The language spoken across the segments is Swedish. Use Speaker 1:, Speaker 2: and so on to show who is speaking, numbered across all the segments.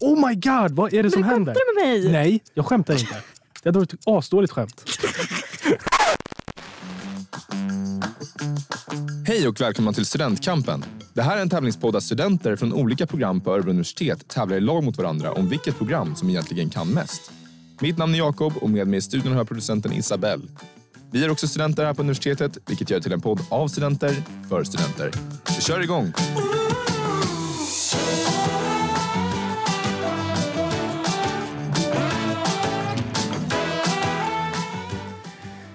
Speaker 1: Oh my god, vad är det som
Speaker 2: Men
Speaker 1: händer?
Speaker 2: skämtar du med mig?
Speaker 1: Nej, jag skämtar inte. Det hade varit ett asdåligt skämt.
Speaker 3: Hej och välkomna till Studentkampen. Det här är en tävlingspodd där studenter från olika program på Örebro universitet tävlar i lag mot varandra om vilket program som egentligen kan mest. Mitt namn är Jakob och med mig i studion har jag producenten Isabelle. Vi är också studenter här på universitetet, vilket gör till en podd av studenter, för studenter. Vi kör igång!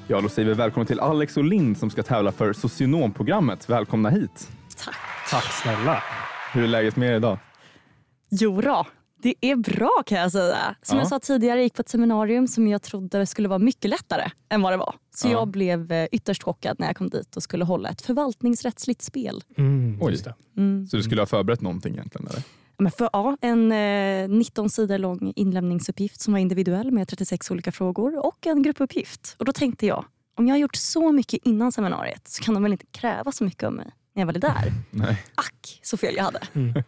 Speaker 4: Ja, då säger vi välkommen till Alex och Lind som ska tävla för socionomprogrammet. Välkomna hit.
Speaker 1: Tack snälla.
Speaker 4: Hur är läget med er idag?
Speaker 2: Jo då, det är bra kan jag säga. Som
Speaker 4: Ja.
Speaker 2: jag sa tidigare, jag gick på ett seminarium som jag trodde skulle vara mycket lättare än vad det var. Så
Speaker 4: Ja.
Speaker 2: jag blev eh, ytterst chockad när jag kom dit och skulle hålla ett förvaltningsrättsligt spel.
Speaker 1: Mm,
Speaker 4: Oj.
Speaker 1: just det.
Speaker 4: Så du skulle ha förberett någonting egentligen? Eller?
Speaker 2: Men för, ja, en eh, 19 sidor lång inlämningsuppgift som var individuell med 36 olika frågor och en gruppuppgift. Och då tänkte jag, om jag har gjort så mycket innan seminariet så kan de väl inte kräva så mycket av mig när jag väl är där.
Speaker 4: Nej.
Speaker 2: Ack så fel jag hade.
Speaker 4: Mm.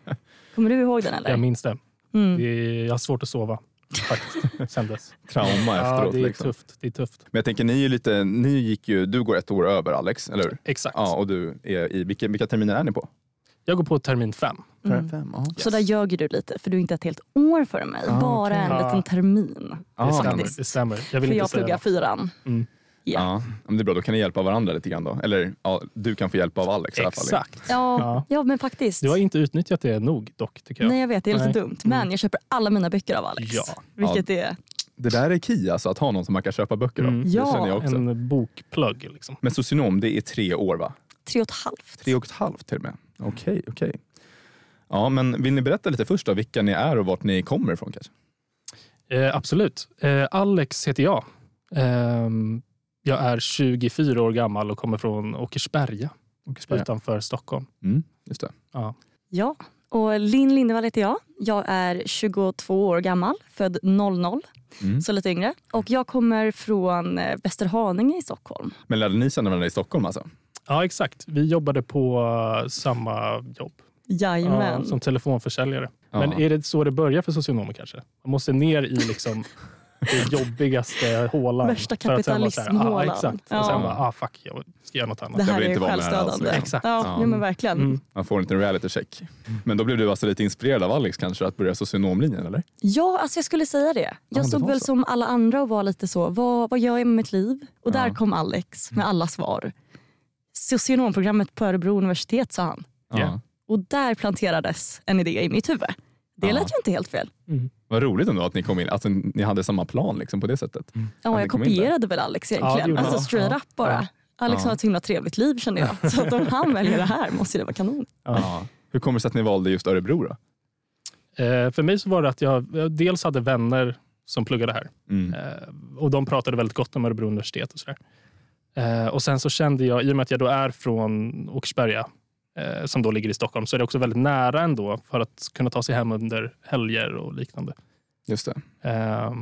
Speaker 2: Kommer du ihåg den eller?
Speaker 1: Jag minns det.
Speaker 2: Mm.
Speaker 1: det är, jag har svårt att sova faktiskt, sen dess.
Speaker 4: Trauma
Speaker 1: Ja,
Speaker 4: efteråt.
Speaker 1: det är
Speaker 4: liksom.
Speaker 1: tufft. Det är tufft.
Speaker 4: Men jag tänker, ni, är ju lite, ni gick ju, du går ett år över Alex, eller hur?
Speaker 1: Exakt.
Speaker 4: Ja, och du är i, vilka, vilka terminer är ni på?
Speaker 1: Jag går på termin fem.
Speaker 4: Mm. Fem, ja.
Speaker 2: Så där ljög du lite, för du är inte ett helt år före mig.
Speaker 4: Ah,
Speaker 2: bara
Speaker 4: okej.
Speaker 2: en
Speaker 1: Ah.
Speaker 2: liten termin.
Speaker 4: Ja,
Speaker 1: det,
Speaker 4: Ah, men-
Speaker 1: stämmer.
Speaker 2: faktiskt.
Speaker 1: det stämmer. Jag vill
Speaker 2: För
Speaker 1: inte
Speaker 2: jag
Speaker 1: säga
Speaker 2: pluggar
Speaker 1: något.
Speaker 2: fyran.
Speaker 1: Mm.
Speaker 2: Ja.
Speaker 4: Ja, men det är bra, då kan ni hjälpa varandra lite grann då. Eller ja, du kan få hjälp av Alex i alla fall.
Speaker 1: Exakt.
Speaker 2: Ja,
Speaker 1: Ja.
Speaker 2: ja. men faktiskt.
Speaker 1: Du har inte utnyttjat det nog dock, tycker jag.
Speaker 2: Nej jag vet, det är lite
Speaker 1: Nej.
Speaker 2: dumt. Men jag köper alla mina böcker av Alex.
Speaker 1: Ja.
Speaker 2: Vilket är...
Speaker 4: Det där är KI, alltså, att ha någon som man kan köpa böcker av.
Speaker 1: Mm.
Speaker 4: Det
Speaker 2: Ja.
Speaker 4: känner jag också.
Speaker 1: En bokplugg. Liksom.
Speaker 4: Men socionom, det är tre år va?
Speaker 2: Tre och ett halvt.
Speaker 4: Tre och ett halvt till och med. Okej, okej. Ja, men vill ni berätta lite först då, vilka ni är och vart ni kommer ifrån kanske?
Speaker 1: Eh, absolut. Eh, Alex heter jag. Ehm, jag är 24 år gammal och kommer från Åkersberga utanför Stockholm.
Speaker 4: Mm, just det.
Speaker 1: Ja.
Speaker 2: Ja. Och Linn Lindevall heter jag. Jag är 22 år gammal, född 00,
Speaker 4: Mm.
Speaker 2: så lite yngre. Och jag kommer från eh, Västerhaninge i Stockholm.
Speaker 4: Men lärde ni känna varandra i Stockholm alltså?
Speaker 1: ja, exakt. Vi jobbade på eh, samma jobb
Speaker 2: Jajamän.
Speaker 1: ja, som telefonförsäljare.
Speaker 4: Ja.
Speaker 1: Men är det så det börjar för socionomer kanske? Man måste ner i liksom det jobbigaste hålan.
Speaker 2: Värsta
Speaker 1: för att sen vara så här,
Speaker 2: kapitalismhålan.
Speaker 1: Ah, exakt.
Speaker 2: Ja.
Speaker 1: Och sen bara, ah, fuck, jag ska göra något annat.
Speaker 2: det
Speaker 4: jag
Speaker 2: här
Speaker 4: vill
Speaker 2: är
Speaker 4: inte vara med här alls,
Speaker 2: självstödande.
Speaker 4: liksom.
Speaker 1: Exakt.
Speaker 2: Ja,
Speaker 4: Ja.
Speaker 2: ja. men verkligen.
Speaker 1: Mm.
Speaker 4: Man får en liten reality check. Men då blev du alltså lite inspirerad av Alex kanske, att börja socionomlinjen eller?
Speaker 2: Ja, alltså jag skulle säga det.
Speaker 4: Ja,
Speaker 2: Jag
Speaker 4: det
Speaker 2: stod
Speaker 4: var
Speaker 2: väl
Speaker 4: så.
Speaker 2: som alla andra och var lite så, vad, vad gör jag med mitt liv? Och där
Speaker 4: Ja.
Speaker 2: kom Alex med alla svar. Socionomprogrammet på Örebro universitet sa han.
Speaker 1: Ja.
Speaker 2: Och där planterades en idé i mitt huvud. Det
Speaker 4: Ja.
Speaker 2: lät ju inte helt fel.
Speaker 4: Vad roligt ändå att ni kom in, att ni hade samma plan liksom, på det sättet.
Speaker 2: Ja,
Speaker 4: det
Speaker 2: jag
Speaker 4: kom in där.
Speaker 2: kopierade väl Alex
Speaker 1: Ja,
Speaker 2: egentligen.
Speaker 1: det gjorde
Speaker 2: alltså
Speaker 1: du.
Speaker 2: straight
Speaker 1: Ja.
Speaker 2: up bara. Alex
Speaker 4: Ja.
Speaker 2: har ett så himla trevligt liv kände jag. Så att om han väljer det här måste ju det vara kanon.
Speaker 4: Ja. Hur kommer det sig att ni valde just Örebro då?
Speaker 1: Eh, för mig så var det att jag jag dels hade vänner som pluggade här.
Speaker 4: Mm.
Speaker 1: Eh, Och de pratade väldigt gott om Örebro universitet och sådär. Eh, Och sen så kände jag, i och med att jag då är från Åkersberga, eh, som då ligger i Stockholm, så är det också väldigt nära ändå för att kunna ta sig hem under helger och liknande.
Speaker 4: Just det.
Speaker 1: Eh,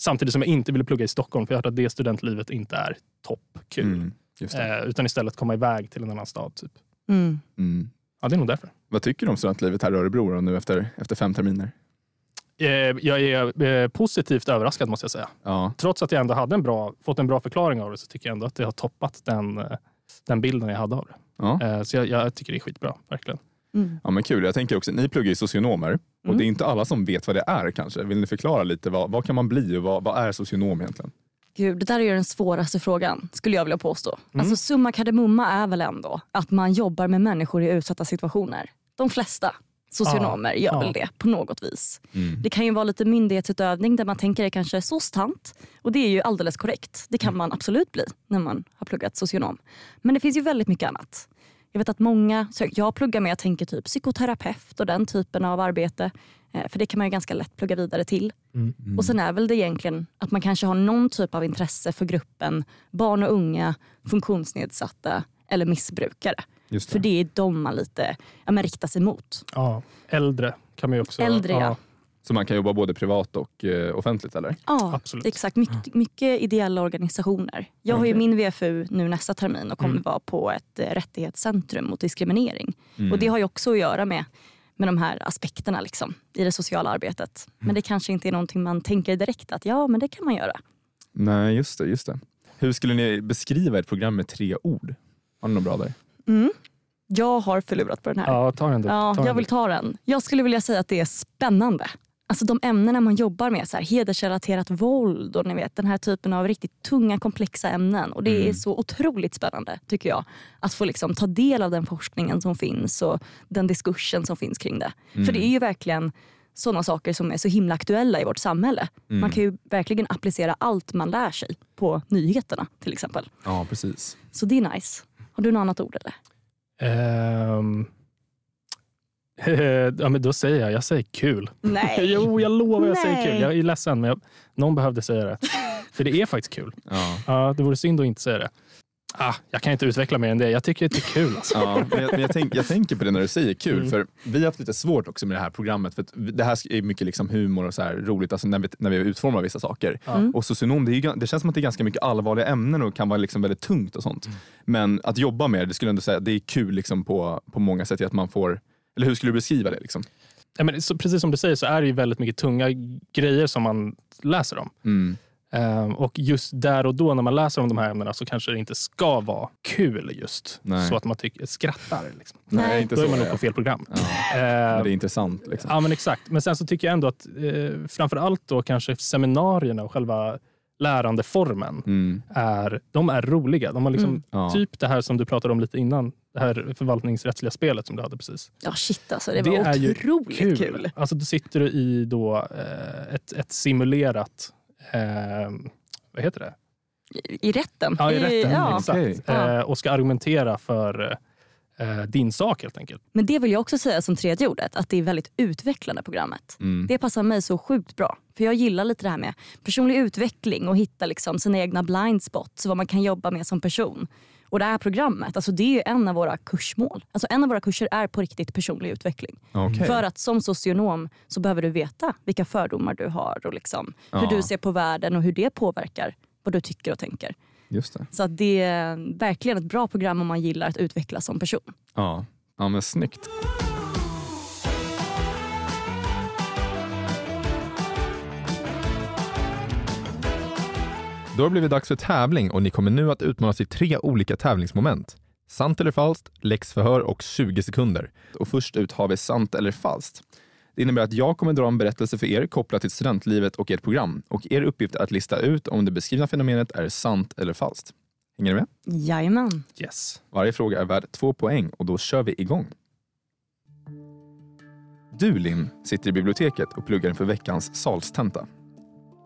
Speaker 1: Samtidigt som jag inte ville plugga i Stockholm, för jag hörde att det studentlivet inte är toppkul.
Speaker 4: Mm. Just det.
Speaker 1: Eh, Utan istället komma iväg till en annan stad. Typ.
Speaker 2: Mm.
Speaker 4: Mm.
Speaker 1: Ja, det är nog därför.
Speaker 4: Vad tycker du om studentlivet här i Örebro då, nu efter, efter fem terminer?
Speaker 1: Eh, Jag är eh, positivt överraskad måste jag säga.
Speaker 4: Ja.
Speaker 1: Trots att jag ändå hade en bra, fått en bra förklaring av det så tycker jag ändå att det har toppat den, eh, den bilden jag hade av det.
Speaker 4: Ja.
Speaker 1: Eh, Så jag, jag tycker det är skitbra, verkligen.
Speaker 2: Mm.
Speaker 4: Ja men kul. Jag tänker också, ni pluggar ju socionomer och
Speaker 2: Mm.
Speaker 4: det är inte alla som vet vad det är kanske. Vill ni förklara lite, vad, vad kan man bli och vad, vad är socionom egentligen?
Speaker 2: Gud, det där är ju den svåraste frågan skulle jag vilja påstå.
Speaker 1: Mm.
Speaker 2: Alltså summa kardemumma är väl ändå att man jobbar med människor i utsatta situationer. De flesta socionomer gör
Speaker 1: ja.
Speaker 2: väl det på något vis. Det kan ju vara lite myndighetsutövning där man tänker är kanske soc-tant och det är ju alldeles korrekt. Det kan man absolut bli när man har pluggat socionom. Men det finns ju väldigt mycket annat. Jag vet att många, så jag pluggar med, jag tänker typ psykoterapeut och den typen av arbete. Eh, För det kan man ju ganska lätt plugga vidare till. Och sen är väl det egentligen att man kanske har någon typ av intresse för gruppen barn och unga, funktionsnedsatta eller missbrukare.
Speaker 4: Just det.
Speaker 2: För det är de man lite ja, men riktar sig mot.
Speaker 1: Ja. Äldre kan man ju också...
Speaker 2: Äldre, ja.
Speaker 4: Så man kan jobba både privat och eh, offentligt eller?
Speaker 2: Ja,
Speaker 1: Absolut.
Speaker 2: exakt. Mycket, mycket ideella organisationer. Jag har ju min VFU nu nästa
Speaker 4: Mm.
Speaker 2: termin och kommer vara på ett eh, rättighetscentrum mot diskriminering. Och Det har ju också att göra med med de här aspekterna liksom, i det sociala arbetet. Men det kanske inte är någonting man tänker direkt att ja, men det kan man göra.
Speaker 4: Nej, just det, just det. Hur skulle ni beskriva ett program med tre ord? Har ni något bra där?
Speaker 2: Mm. Jag har förlurat på den här.
Speaker 1: Ja, ta den du. ta
Speaker 2: Ja,
Speaker 1: den
Speaker 2: jag vill
Speaker 1: du.
Speaker 2: ta den. Jag skulle vilja säga att det är spännande. Alltså de ämnena man jobbar med, så här, hedersrelaterat våld och ni vet, den här typen av riktigt tunga komplexa ämnen. Och Det
Speaker 1: Mm.
Speaker 2: är så otroligt spännande tycker jag. Att få liksom, ta del av den forskningen som finns och den diskursen som finns kring det. För
Speaker 1: Mm.
Speaker 2: det är ju verkligen sådana saker som är så himla aktuella i vårt samhälle.
Speaker 4: Mm.
Speaker 1: Mm.
Speaker 2: Man kan ju verkligen applicera allt man lär sig på nyheterna till exempel.
Speaker 4: Ja, precis.
Speaker 2: Så det är nice. Har du något annat ord eller?
Speaker 1: Ehm. ja, men då säger jag, jag säger kul.
Speaker 2: Nej.
Speaker 1: Jo, jag lovar jag säger
Speaker 2: Nej.
Speaker 1: kul. Jag är ledsen, men jag, någon behövde säga det. För det är faktiskt kul.
Speaker 4: Ja.
Speaker 1: Ja, det vore synd att inte säga det. Ah, jag kan inte utveckla mer än det. Jag tycker det är kul. Alltså.
Speaker 4: Ja, men jag, men jag, tänk, jag tänker på det när du säger kul,
Speaker 2: Mm.
Speaker 4: för vi har haft lite svårt också med det här programmet. För att vi- det här är mycket liksom humor och så här roligt alltså när, vi, när vi utformar vissa saker. Och socionom, det, är ju, gan- det känns som att det är ganska mycket allvarliga ämnen och kan vara liksom väldigt tungt och
Speaker 1: Mm.
Speaker 4: sånt. Men att jobba med det, det skulle jag ändå säga, det är kul liksom på, på många sätt. i Att man får, eller hur skulle du beskriva det? Liksom?
Speaker 1: Ja, men, så, precis som du säger så är det ju väldigt mycket tunga grejer som man läser om.
Speaker 4: Mm.
Speaker 1: Ehm, och just där och då när man läser om de här ämnena så kanske det inte ska vara kul just.
Speaker 4: Nej.
Speaker 1: Så att man tycker, skrattar. Liksom.
Speaker 4: Nej,
Speaker 2: Nej.
Speaker 4: inte
Speaker 1: Då
Speaker 4: så.
Speaker 1: är man
Speaker 4: ja.
Speaker 1: nog på fel program.
Speaker 4: Men
Speaker 1: Ehm,
Speaker 4: det är intressant. Liksom.
Speaker 1: Ja, men exakt. Men sen så tycker jag ändå att eh, framför allt då kanske seminarierna och själva lärandeformen
Speaker 4: Mm.
Speaker 1: är, de är roliga. De har liksom
Speaker 2: Mm.
Speaker 4: Ja.
Speaker 1: typ det här som du pratade om lite innan. Det här förvaltningsrättsliga spelet som du hade precis.
Speaker 2: Ja shit alltså, det,
Speaker 1: Det
Speaker 2: var
Speaker 1: är ju
Speaker 2: otroligt kul.
Speaker 1: Alltså då sitter du i då eh, ett, ett simulerat eh, vad heter det?
Speaker 2: I, i rätten.
Speaker 1: Ja, i rätten.
Speaker 2: ja.
Speaker 1: Exakt.
Speaker 4: okej.
Speaker 1: Eh, och ska argumentera för eh, din sak helt enkelt.
Speaker 2: Men det vill jag också säga som tredje ordet, att det är väldigt utvecklande programmet.
Speaker 4: Mm.
Speaker 2: Det passar mig så sjukt bra. För jag gillar lite det här med personlig utveckling och hitta liksom sina egna blind spots, vad man kan jobba med som person. Och det här programmet, alltså det är ju en av våra kursmål. Alltså en av våra kurser är på riktigt personlig utveckling.
Speaker 4: Okej.
Speaker 2: För att som socionom så behöver du veta vilka fördomar du har och liksom hur
Speaker 4: Ja.
Speaker 2: du ser på världen och hur det påverkar vad du tycker och tänker.
Speaker 4: Just det.
Speaker 2: Så att det är verkligen ett bra program om man gillar att utvecklas som person.
Speaker 4: Ja. ja, men snyggt. Då har det blivit dags för tävling och ni kommer nu att utmanas i tre olika tävlingsmoment. Sant eller falskt, läxförhör och 20 sekunder. Och först ut har vi sant eller falskt. Det innebär att jag kommer dra en berättelse för er kopplat till studentlivet och ert program. Och er uppgift är att lista ut om det beskrivna fenomenet är sant eller falskt. Hänger ni med?
Speaker 2: Jajamän.
Speaker 1: Yes.
Speaker 4: Varje fråga är värd två poäng och då kör vi igång. Du, Linn, sitter i biblioteket och pluggar inför veckans salstenta.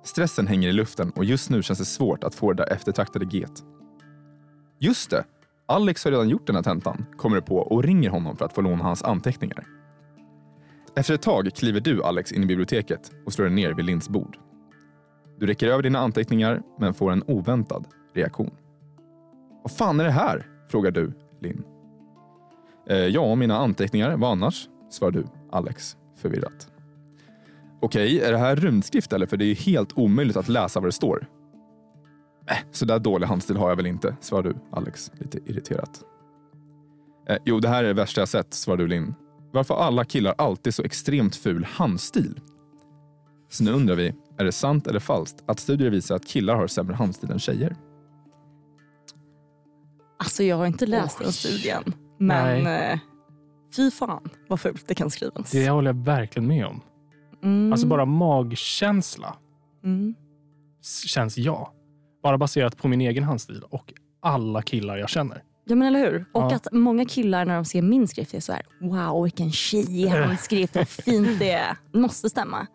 Speaker 4: Stressen hänger i luften och just nu känns det svårt att få det där eftertraktade get. Just det! Alex har redan gjort den här tentan, kommer du på och ringer honom för att få låna hans anteckningar. Efter ett tag kliver du, Alex, in i biblioteket och slår dig ner vid Linns bord. Du räcker över dina anteckningar, men får en oväntad reaktion. Vad fan är det här? frågar du, Linn. Eh, ja, mina anteckningar. Vad annars? svarar du, Alex, förvirrat. Okej, är det här rymdskrift eller? För det är ju helt omöjligt att läsa vad det står. Äh, så där dålig handstil har jag väl inte, svarar du, Alex, lite irriterat. Eh, jo, det här är det värsta jag sett, svarar du, Linn. Varför har alla killar alltid så extremt ful handstil? Så nu undrar vi, är det sant eller falskt att studier visar att killar har sämre handstil än tjejer?
Speaker 2: Alltså jag har inte läst den studien. Men eh, fy fan vad fult det kan skrivas.
Speaker 1: Det håller jag verkligen med om.
Speaker 2: Mm,
Speaker 1: Alltså bara magkänsla
Speaker 2: mm.
Speaker 1: s- känns jag. Bara baserat på min egen handstil och alla killar jag känner.
Speaker 2: Ja men eller hur? Och
Speaker 1: Ja.
Speaker 2: att många killar när de ser min skrift är så här wow vilken tjejig
Speaker 1: Eh.
Speaker 2: handskrift, vad fint det är. Det måste stämma.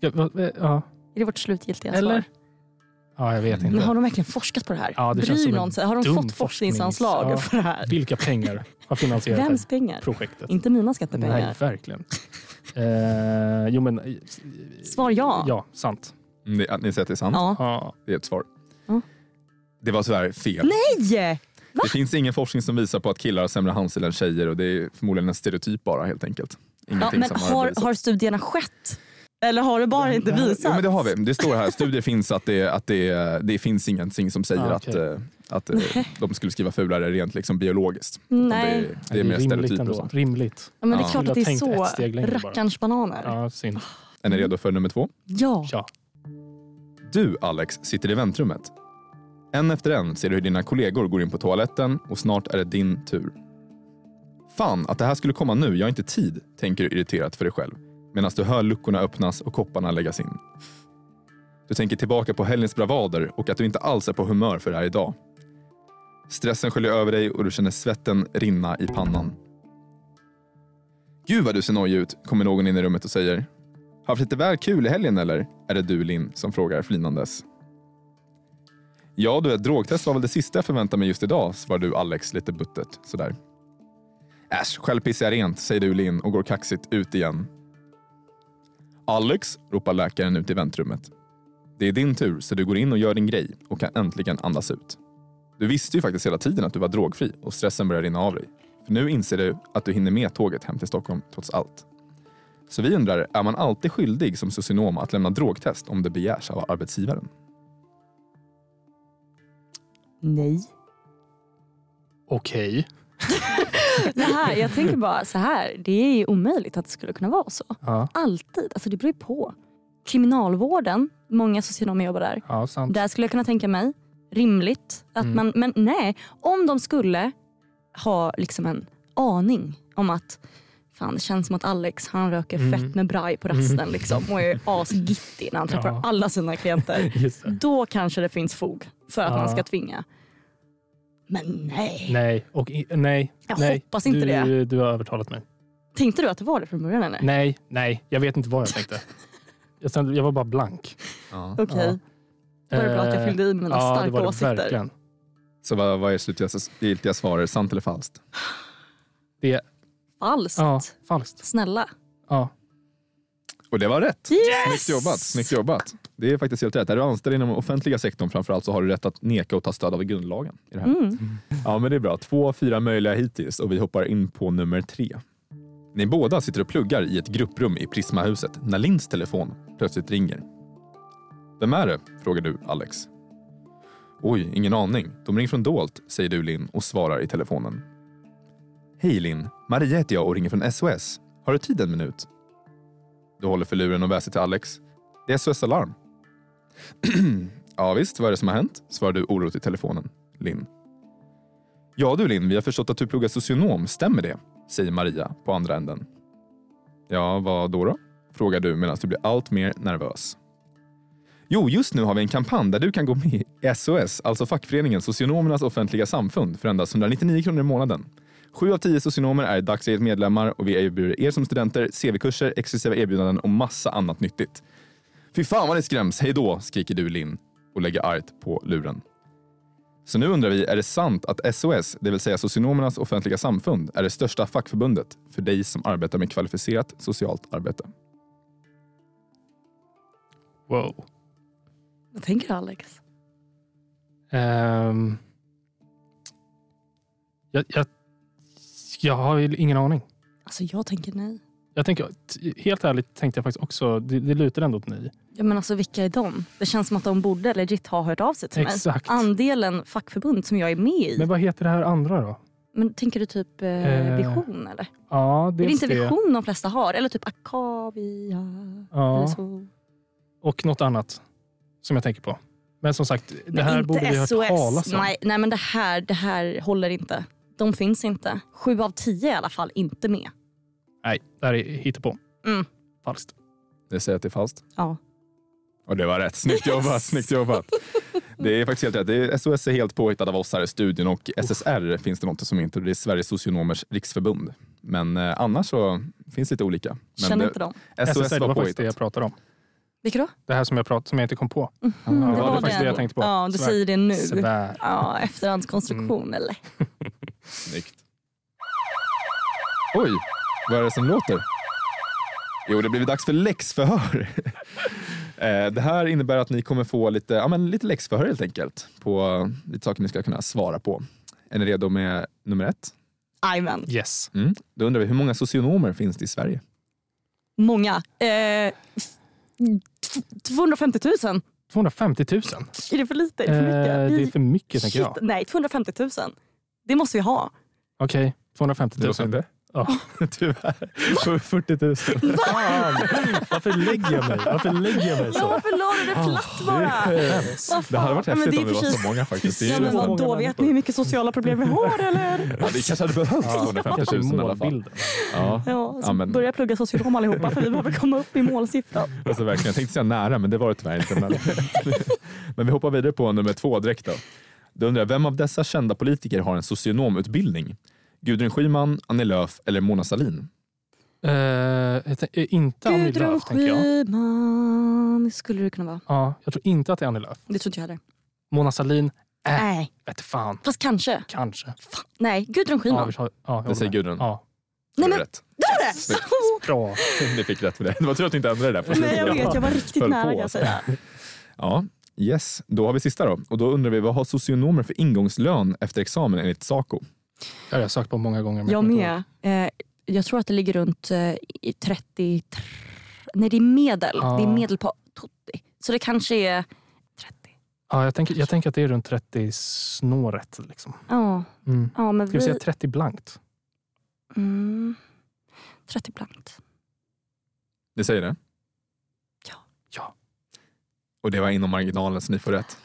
Speaker 1: Ja, va- va- ja.
Speaker 2: Är det vårt slutgiltiga
Speaker 1: Eller?
Speaker 2: svar?
Speaker 1: Ja, jag vet
Speaker 2: Men
Speaker 1: inte.
Speaker 2: har de verkligen forskat på det här?
Speaker 1: Ja, det känns
Speaker 2: Bryr
Speaker 1: som en
Speaker 2: någon sig? Har de
Speaker 1: dum
Speaker 2: fått forskningsanslag
Speaker 1: forsknings- ja.
Speaker 2: för det här?
Speaker 1: Vilka pengar har finansierat det
Speaker 2: Vems
Speaker 1: här
Speaker 2: pengar?
Speaker 1: projektet?
Speaker 2: Inte mina skattepengar.
Speaker 1: Nej, verkligen. Eh, jo, men... eh,
Speaker 2: Svar ja.
Speaker 1: Ja, sant.
Speaker 4: Mm, det- Ni säger att det är sant?
Speaker 2: Ja.
Speaker 1: Ja.
Speaker 4: Det är ett svar.
Speaker 2: Ja.
Speaker 4: Det var tyvärr fel.
Speaker 2: Nej!
Speaker 4: Det finns ingen forskning som visar på att killar har sämre handstil än tjejer och det är förmodligen en stereotyp bara helt enkelt.
Speaker 2: Ja,
Speaker 4: Ingenting
Speaker 2: men
Speaker 4: som har,
Speaker 2: har,
Speaker 4: bevisat.
Speaker 2: har studierna skett? Eller har du bara inte visat?
Speaker 4: Jo, men det har vi. Det står här, studier finns att det, att det, det finns ingenting som säger
Speaker 1: Ah, okej.
Speaker 4: att, eh, att eh, de skulle skriva fulare rent liksom biologiskt.
Speaker 2: Nej.
Speaker 4: Det, det är mer
Speaker 1: rimligt
Speaker 4: stereotyper och
Speaker 1: ändå.
Speaker 4: sånt.
Speaker 1: Rimligt.
Speaker 2: Ja, men det är
Speaker 4: Ja.
Speaker 2: klart att
Speaker 1: Jag
Speaker 2: det är
Speaker 1: tänkte
Speaker 2: så
Speaker 1: ett steg längre bara.
Speaker 2: rackarns bananer. Ja.
Speaker 1: Ja, synd.
Speaker 4: Är ni redo för nummer två?
Speaker 1: Ja.
Speaker 4: Du, Alex, sitter i väntrummet. En efter en ser du hur dina kollegor går in på toaletten och snart är det din tur. Fan att det här skulle komma nu, jag har inte tid, tänker du irriterat för dig själv. Medan du hör luckorna öppnas och kopparna läggas in. Du tänker tillbaka på helgens bravader och att du inte alls är på humör för det här idag. Stressen sköljer över dig och du känner svetten rinna i pannan. Gud vad du ser nojig ut, kommer någon in i rummet och säger. Haft lite väl kul i helgen eller? Är det du Linn som frågar flinandes. Ja du, ett drogtest var väl det sista jag förväntade mig just idag, svarar du Alex lite buttert sådär. Äsch, själv pissar jag rent, säger du Linn och går kaxigt ut igen. Alex, ropar läkaren ut i väntrummet. Det är din tur, så du går in och gör din grej och kan äntligen andas ut. Du visste ju faktiskt hela tiden att du var drogfri och stressen börjar rinna av dig. För nu inser du att du hinner med tåget hem till Stockholm trots allt. Så vi undrar, är man alltid skyldig som socionom att lämna drogtest om det begärs av arbetsgivaren?
Speaker 2: Nej.
Speaker 1: Okej.
Speaker 2: Det här, jag tänker bara så här. Det är ju omöjligt att det skulle kunna vara så.
Speaker 1: Ja.
Speaker 2: Alltid. Alltså det beror ju på. Kriminalvården, många socionomer jobbar där.
Speaker 1: ja, sant.
Speaker 2: Där skulle jag kunna tänka mig, rimligt. Att
Speaker 1: Mm.
Speaker 2: man, men nej, om de skulle ha liksom en aning om att Fan, det känns som att Alex han röker
Speaker 1: Mm.
Speaker 2: fett med braj på rasten liksom, och är asgittig när han träffar
Speaker 1: Ja.
Speaker 2: alla sina klienter.
Speaker 1: Just det.
Speaker 2: Då kanske det finns fog för att
Speaker 1: Ja.
Speaker 2: man ska tvinga. Men nej.
Speaker 1: Nej, och i, nej.
Speaker 2: Jag
Speaker 1: nej.
Speaker 2: hoppas inte
Speaker 1: du,
Speaker 2: det.
Speaker 1: Du har övertalat mig.
Speaker 2: Tänkte du att det var det från början? Eller?
Speaker 1: Nej, nej. Jag vet inte vad jag tänkte. Jag, sen- jag var bara blank.
Speaker 2: Okej,
Speaker 1: Ja.
Speaker 2: var det bra att jag
Speaker 1: Eh,
Speaker 2: fyllde i med mina
Speaker 1: ja, det
Speaker 2: starka
Speaker 1: var det
Speaker 2: åsikter?
Speaker 1: Verkligen.
Speaker 4: Så vad, vad är slutgiltiga svar? Sant eller falskt?
Speaker 1: Det,
Speaker 2: Falskt.
Speaker 1: ja, falskt.
Speaker 2: Snälla.
Speaker 1: Ja.
Speaker 4: Och det var rätt!
Speaker 2: Yes!
Speaker 4: Snyggt jobbat! Snyggt jobbat! Det är faktiskt helt rätt. Är du anställd inom offentliga sektorn framförallt så har du rätt att neka och ta stöd av grundlagen. I det här.
Speaker 2: Mm.
Speaker 4: Ja, men det är bra. Två av fyra möjliga hittills och vi hoppar in på nummer tre. Ni båda sitter och pluggar i ett grupprum i Prismahuset när Linns telefon plötsligt ringer. Vem är det? frågar du Alex. Oj, ingen aning. De ringer från dolt, säger du Linn och svarar i telefonen. Hej Linn, Maria heter jag och ringer från SOS. Har du tid en minut? Du håller för luren och väser till Alex. Det är SOS Alarm. ja visst, vad är det som har hänt? svarar du oroligt i telefonen, Linn. Ja du Linn, vi har förstått att du pluggar socionom, stämmer det? Säger Maria på andra änden. Ja, vad då då? Frågar du medan du blir allt mer nervös. Jo, just nu har vi en kampanj där du kan gå med i SOS, alltså fackföreningen Socionomernas offentliga samfund, för endast 199 kronor i månaden. Sju av tio socionomer är i dagsläget medlemmar och vi erbjuder er som studenter CV-kurser, exklusiva erbjudanden och massa annat nyttigt. Fy fan vad ni skräms, hej då, skriker du Linn och lägger argt på luren. Så nu undrar vi, är det sant att SOS, det vill säga Socionomernas offentliga samfund, är det största fackförbundet för dig som arbetar med kvalificerat socialt arbete?
Speaker 1: Wow.
Speaker 2: Vad tänker du Alex?
Speaker 1: Ehm. jag, jag, jag har ju ingen aning.
Speaker 2: Alltså jag tänker nej.
Speaker 1: Jag tänker, t- helt ärligt tänkte jag faktiskt också, det, det lutar ändå åt nej.
Speaker 2: Ja, men alltså, vilka är de? Det känns som att de borde legit ha hört av sig till mig.
Speaker 1: Exakt.
Speaker 2: Andelen fackförbund som jag är med i.
Speaker 1: Men
Speaker 2: Men,
Speaker 1: vad heter det här andra då?
Speaker 2: tänker du typ eh,
Speaker 1: Eh,
Speaker 2: vision eller?
Speaker 1: Ja,
Speaker 2: Är det
Speaker 1: dels
Speaker 2: inte
Speaker 1: det.
Speaker 2: vision de flesta har? Eller typ Akavia? Eller
Speaker 1: Ja,
Speaker 2: så.
Speaker 1: och något annat som jag tänker på. Men som sagt, det
Speaker 2: Men
Speaker 1: här
Speaker 2: inte
Speaker 1: borde vi ha hört
Speaker 2: SOS.
Speaker 1: talas om.
Speaker 2: Nej, nej men det här, det här håller inte. De finns inte. Sju av tio i alla fall inte med.
Speaker 1: Nej, det här är hittepå.
Speaker 2: Mm.
Speaker 1: Falskt.
Speaker 4: Det säger att det är falskt.
Speaker 2: Ja.
Speaker 4: Och det var rätt. Snyggt jobbat! Snyggt jobbat. Det är faktiskt helt rätt. Det är, SOS är helt påhittad av oss här i studion och SSR finns det något som inte. Det är Sveriges socionomers riksförbund. Men eh, annars så finns lite olika. Men
Speaker 2: Känner
Speaker 4: det,
Speaker 2: inte dem.
Speaker 4: SOS
Speaker 1: SSR, det
Speaker 4: var
Speaker 1: var faktiskt det jag
Speaker 4: påhittat.
Speaker 1: pratade om.
Speaker 2: Vilka då?
Speaker 1: Det här som jag, prat, som jag inte kom på.
Speaker 4: Ja,
Speaker 1: det var
Speaker 4: det
Speaker 1: det faktiskt
Speaker 2: den.
Speaker 1: det jag tänkte på.
Speaker 2: Mm. Ja, du
Speaker 1: Svär.
Speaker 2: säger det nu.
Speaker 1: Svär.
Speaker 2: Ja, efterhandskonstruktion eller?
Speaker 4: Snyggt. Oj, vad är det som låter? Jo, det blir dags för läxförhör. Eh, det här innebär att ni kommer få lite, ja, men lite läxförhör helt enkelt. På eh, lite saker ni ska kunna svara på. Är ni redo med nummer ett?
Speaker 2: Jajamän.
Speaker 1: Yes.
Speaker 4: Då undrar vi, hur många socionomer finns det i Sverige?
Speaker 2: Många. Eh, Tv- 250 000?
Speaker 1: 250 000?
Speaker 2: Är det för lite? Är det för
Speaker 1: Eh,
Speaker 2: mycket?
Speaker 1: det är för mycket, tänker
Speaker 2: Shit,
Speaker 1: jag.
Speaker 2: Nej, 250 000. Det måste vi ha.
Speaker 1: Okej, 250
Speaker 4: Det låter
Speaker 1: 000.
Speaker 4: inte.
Speaker 1: Ja.
Speaker 4: Tyvärr. 40 000.
Speaker 1: Fan! Varför lägger jag mig? Varför lägger jag mig
Speaker 2: Ja,
Speaker 1: så?
Speaker 2: varför la du det platt bara? Vad
Speaker 4: Det hade varit
Speaker 2: fan? Ja, men
Speaker 4: häftigt
Speaker 2: är
Speaker 4: om
Speaker 2: för
Speaker 4: vi var
Speaker 2: sig-
Speaker 4: så många faktiskt. Det är
Speaker 2: Ja,
Speaker 4: ju
Speaker 2: men
Speaker 4: nästan-
Speaker 1: vad-
Speaker 2: vadå,
Speaker 1: många
Speaker 2: vet
Speaker 1: människor.
Speaker 2: ni hur mycket sociala problem vi har eller?
Speaker 4: Ja, det kanske hade behövts 250
Speaker 1: Kanske
Speaker 4: 000 i alla fall.
Speaker 1: målbilden.
Speaker 4: Ja.
Speaker 2: Ja, så
Speaker 4: Ja, men-
Speaker 2: Börja plugga socionom allihopa för vi behöver komma upp i målsiffran.
Speaker 4: Alltså, verkligen. Jag tänkte säga nära, men det var det tyvärr inte. Men, men vi hoppar vidare på nummer två direkt. Då. då undrar jag, vem av dessa kända politiker har en socionomutbildning? Gudrun Schyman, Annie Lööf eller Mona Sahlin?
Speaker 1: Eh, jag tänk- eh, inte Annie
Speaker 2: Gudrun
Speaker 1: Lööf, tänker jag.
Speaker 2: Schyman skulle det kunna vara.
Speaker 1: Ja, jag tror inte att det är Annie Lööf.
Speaker 2: Det tror inte jag heller.
Speaker 1: Mona Sahlin, äh,
Speaker 2: Nej,
Speaker 1: vete fan.
Speaker 2: fast kanske.
Speaker 1: Kanske.
Speaker 2: Fan. Nej, Gudrun
Speaker 1: Ja,
Speaker 2: Schyman.
Speaker 1: vi tar, ja, jag
Speaker 4: Jag säger
Speaker 1: håller med.
Speaker 4: Gudrun.
Speaker 1: Ja,
Speaker 4: Det
Speaker 2: Nej,
Speaker 4: var
Speaker 2: men-
Speaker 4: rätt.
Speaker 1: bra.
Speaker 4: Ni fick rätt för det. Det var tur att du inte ändrade det där. på
Speaker 2: Nej, jag
Speaker 4: slutet.
Speaker 2: vet. Jag var riktigt
Speaker 4: Höll
Speaker 2: nära
Speaker 4: på,
Speaker 2: kan jag
Speaker 4: alltså.
Speaker 2: säga.
Speaker 4: Ja, yes. Då har vi sista då. Och då undrar vi, vad har socionomer för ingångslön efter examen enligt Saco?
Speaker 1: Det har jag sökt på många gånger. men
Speaker 2: Jag
Speaker 1: kommer inte ihåg.
Speaker 2: med. Eh, jag tror att det ligger runt eh, i 30... tr- Nej, det är medel.
Speaker 1: Ja.
Speaker 2: Det är medel på totti. Så det kanske är 30.
Speaker 1: Ja, jag, tänker, jag tänker att det är runt 30 snåret. Liksom.
Speaker 2: Ja,
Speaker 1: Mm.
Speaker 2: ja men
Speaker 1: Ska vi
Speaker 2: vi...
Speaker 1: säga 30 blankt?
Speaker 2: Mm, 30 blankt.
Speaker 4: Ni säger det?
Speaker 2: Ja.
Speaker 1: Ja.
Speaker 4: Och det var inom marginalen så ni får rätt.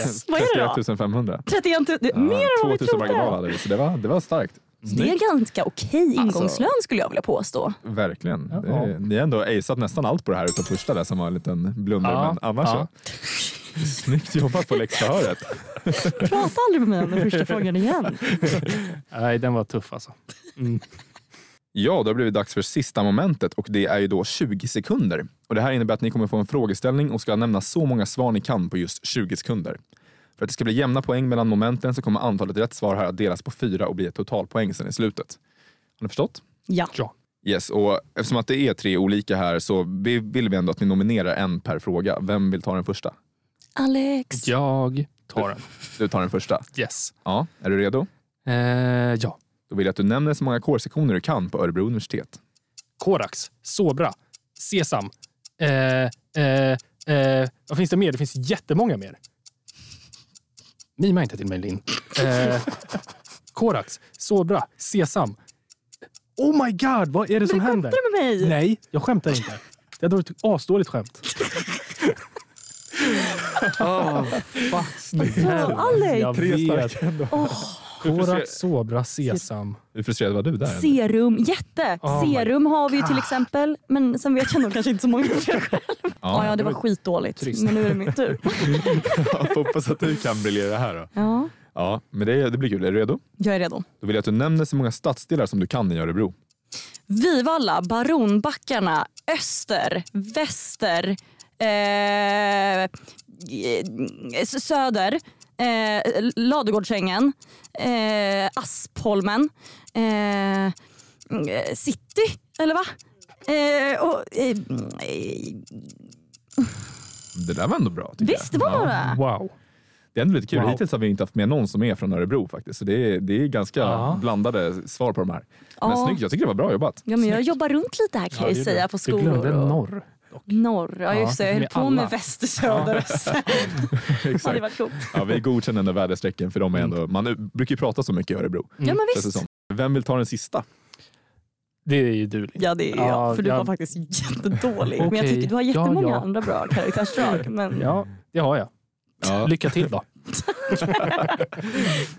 Speaker 2: Yes, vad är det då?
Speaker 4: 31 500
Speaker 2: 31 000. Det är
Speaker 4: Ja,
Speaker 2: Eh, Mer än vad vi
Speaker 4: 2000 marginal
Speaker 2: trodde.
Speaker 4: hade vi, så det var, det var starkt.
Speaker 2: Det är ganska okej
Speaker 1: Alltså-
Speaker 2: ingångslön skulle jag vilja påstå.
Speaker 4: Verkligen.
Speaker 1: Ja.
Speaker 4: Det är, ni har ändå aceat nästan allt på det här utom första där som var en liten blunder.
Speaker 1: Ja,
Speaker 4: Men annars
Speaker 1: ja.
Speaker 4: så. Snyggt jobbat på läxförhöret.
Speaker 2: Prata aldrig med mig om den första frågan igen.
Speaker 1: Nej, den var tuff alltså.
Speaker 4: Ja, då har det blivit dags för sista momentet och det är ju då 20 sekunder. Och Det här innebär att ni kommer få en frågeställning och ska nämna så många svar ni kan på just 20 sekunder. För att det ska bli jämna poäng mellan momenten så kommer antalet rätt svar här att delas på fyra och bli ett totalpoäng sen i slutet. Har ni förstått?
Speaker 2: Ja.
Speaker 4: Yes, och eftersom att det är tre olika här så vi- vill vi ändå att ni nominerar en per fråga. Vem vill ta den första?
Speaker 2: Alex.
Speaker 1: Jag tar den.
Speaker 4: Du tar den första.
Speaker 1: Yes.
Speaker 4: Ja, är du redo?
Speaker 1: Eh, ja.
Speaker 4: Då vill jag att du nämner så många kårsektioner du kan på Örebro universitet.
Speaker 1: Korax, Sobra, Sesam. Eh, eh, eh, vad finns det mer? Det finns jättemånga mer. Mima inte till mig, Linn. Eh, Korax, Sobra, Sesam. Oh my god, vad är det som händer?
Speaker 2: Skämtar du med mig?
Speaker 1: Nej, jag skämtar inte. Det hade varit ett asdåligt skämt.
Speaker 2: Alltså, Alex.
Speaker 1: Jag vet.
Speaker 2: Åh,
Speaker 1: Korax, Sobra, Sesam.
Speaker 4: Hur frustrerad var du där?
Speaker 2: serum. Jätte.
Speaker 1: Oh my
Speaker 2: serum har vi ju till exempel. Men sen vet jag nog kanske inte så många fler. Ja, ja, det var skitdåligt.
Speaker 1: trist.
Speaker 2: Men nu är det min tur.
Speaker 4: Ja, får hoppas att du kan briljera här då.
Speaker 2: Ja,
Speaker 4: Ja, men det, det blir kul. Är du redo?
Speaker 2: jag är redo.
Speaker 4: Då vill jag att du nämner så många stadsdelar som du kan i Örebro.
Speaker 2: Vivalla, Baronbackarna, Öster, Väster, eh, eh, Söder, eh, Ladugårdsängen, eh, Aspholmen, eh, eh, City, eller va? Eh, och, eh, eh,
Speaker 4: Det där var ändå bra. tycker
Speaker 2: visst, det
Speaker 4: jag.
Speaker 2: var
Speaker 4: Ja.
Speaker 2: några.
Speaker 1: Wow.
Speaker 4: Det är ändå lite kul.
Speaker 1: Wow.
Speaker 4: Hittills har vi inte haft med någon som är från Örebro faktiskt. Så det är, det är ganska
Speaker 1: Ja.
Speaker 4: blandade svar på de här. Men
Speaker 2: Ja.
Speaker 4: snyggt, jag tycker det var bra jobbat.
Speaker 2: Ja, men jag jobbar runt lite här kan jag ju säga på
Speaker 1: Du glömde
Speaker 2: skolor. och-
Speaker 1: norr.
Speaker 2: Norr, ja
Speaker 1: Ja,
Speaker 2: just det. Jag höll
Speaker 1: med
Speaker 2: på
Speaker 1: alla.
Speaker 2: med väster, söder, öster. Ja, det
Speaker 4: Exakt.
Speaker 2: var klokt.
Speaker 4: Ja, vi godkänner den där väderstrecken för de är ändå, man brukar ju prata så mycket i Örebro.
Speaker 2: Ja,
Speaker 1: Mm,
Speaker 2: men
Speaker 4: känns det
Speaker 2: visst.
Speaker 4: som. Vem vill ta den sista?
Speaker 1: Det är ju du, Linn.
Speaker 2: Ja, det är
Speaker 1: Ja,
Speaker 2: jag. För du
Speaker 1: jag-
Speaker 2: var faktiskt jättedålig. Men jag
Speaker 1: Okej.
Speaker 2: tycker du har jättemånga
Speaker 1: Ja, ja.
Speaker 2: andra bra karaktärsdrag. Men
Speaker 1: Ja, det har jag.
Speaker 4: Mm. Ja.
Speaker 1: Lycka till då.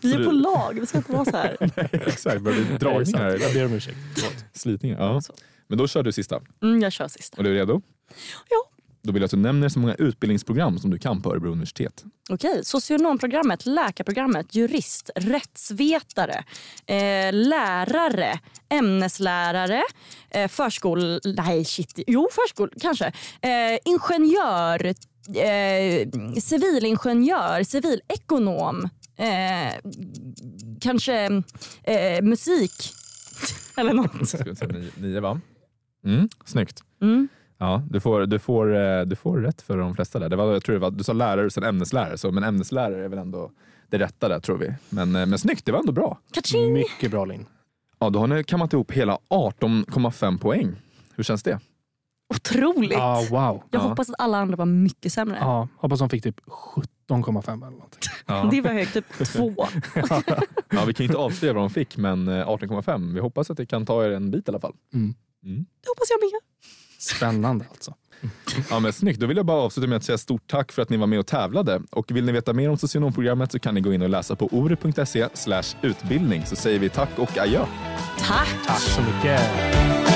Speaker 2: vi
Speaker 4: så
Speaker 2: är på
Speaker 4: du-
Speaker 2: lag, vi ska inte vara så här.
Speaker 4: Exakt, börjar bli
Speaker 1: Det är sant.
Speaker 4: dragningar,
Speaker 1: Jag ber om ursäkt.
Speaker 4: slitningar. Ja.
Speaker 2: Så.
Speaker 4: Men då kör du sista.
Speaker 2: Mm, jag kör sista.
Speaker 4: Är du redo?
Speaker 2: Ja.
Speaker 4: Då vill jag att du nämner så många utbildningsprogram som du kan på Örebro universitet.
Speaker 2: Okej, socionomprogrammet, läkarprogrammet, jurist, rättsvetare, eh, lärare, ämneslärare, eh, förskol... Nej, shit. Jo, förskol kanske. Eh, ingenjör, eh, civilingenjör, civilekonom, eh, kanske eh, musik eller något.
Speaker 4: Ska vi ta nio, nio va? Mm, snyggt.
Speaker 2: Mm.
Speaker 4: Ja, du, får, du, får, eh, du får rätt för de flesta där. Det var, jag tror det var, du sa lärare och sen ämneslärare, så, men ämneslärare är väl ändå det rätta där tror vi. Men, eh, men snyggt, det var ändå bra.
Speaker 2: Kaching!
Speaker 1: Mycket bra, Linn.
Speaker 4: Ja, då har ni kammat ihop hela 18,5 poäng. Hur känns det?
Speaker 2: Otroligt!
Speaker 1: Ah, wow.
Speaker 2: Jag
Speaker 4: ja.
Speaker 2: hoppas att alla andra var mycket sämre.
Speaker 1: Ja, hoppas hon fick typ 17,5 eller någonting.
Speaker 4: Ja.
Speaker 2: Det var högt, typ två.
Speaker 4: Ja, vi kan ju inte avslöja vad de fick, men eh, 18,5. Vi hoppas att det kan ta er en bit i alla fall.
Speaker 1: Mm.
Speaker 2: Det hoppas jag med.
Speaker 1: Spännande alltså.
Speaker 4: Ja, men snyggt. Då vill jag bara avsluta med att säga stort tack för att ni var med och tävlade. Och vill ni veta mer om socionomprogrammet så kan ni gå in och läsa på ore.se slash utbildning så säger vi tack och adjö.
Speaker 2: Tack!
Speaker 1: Tack så mycket.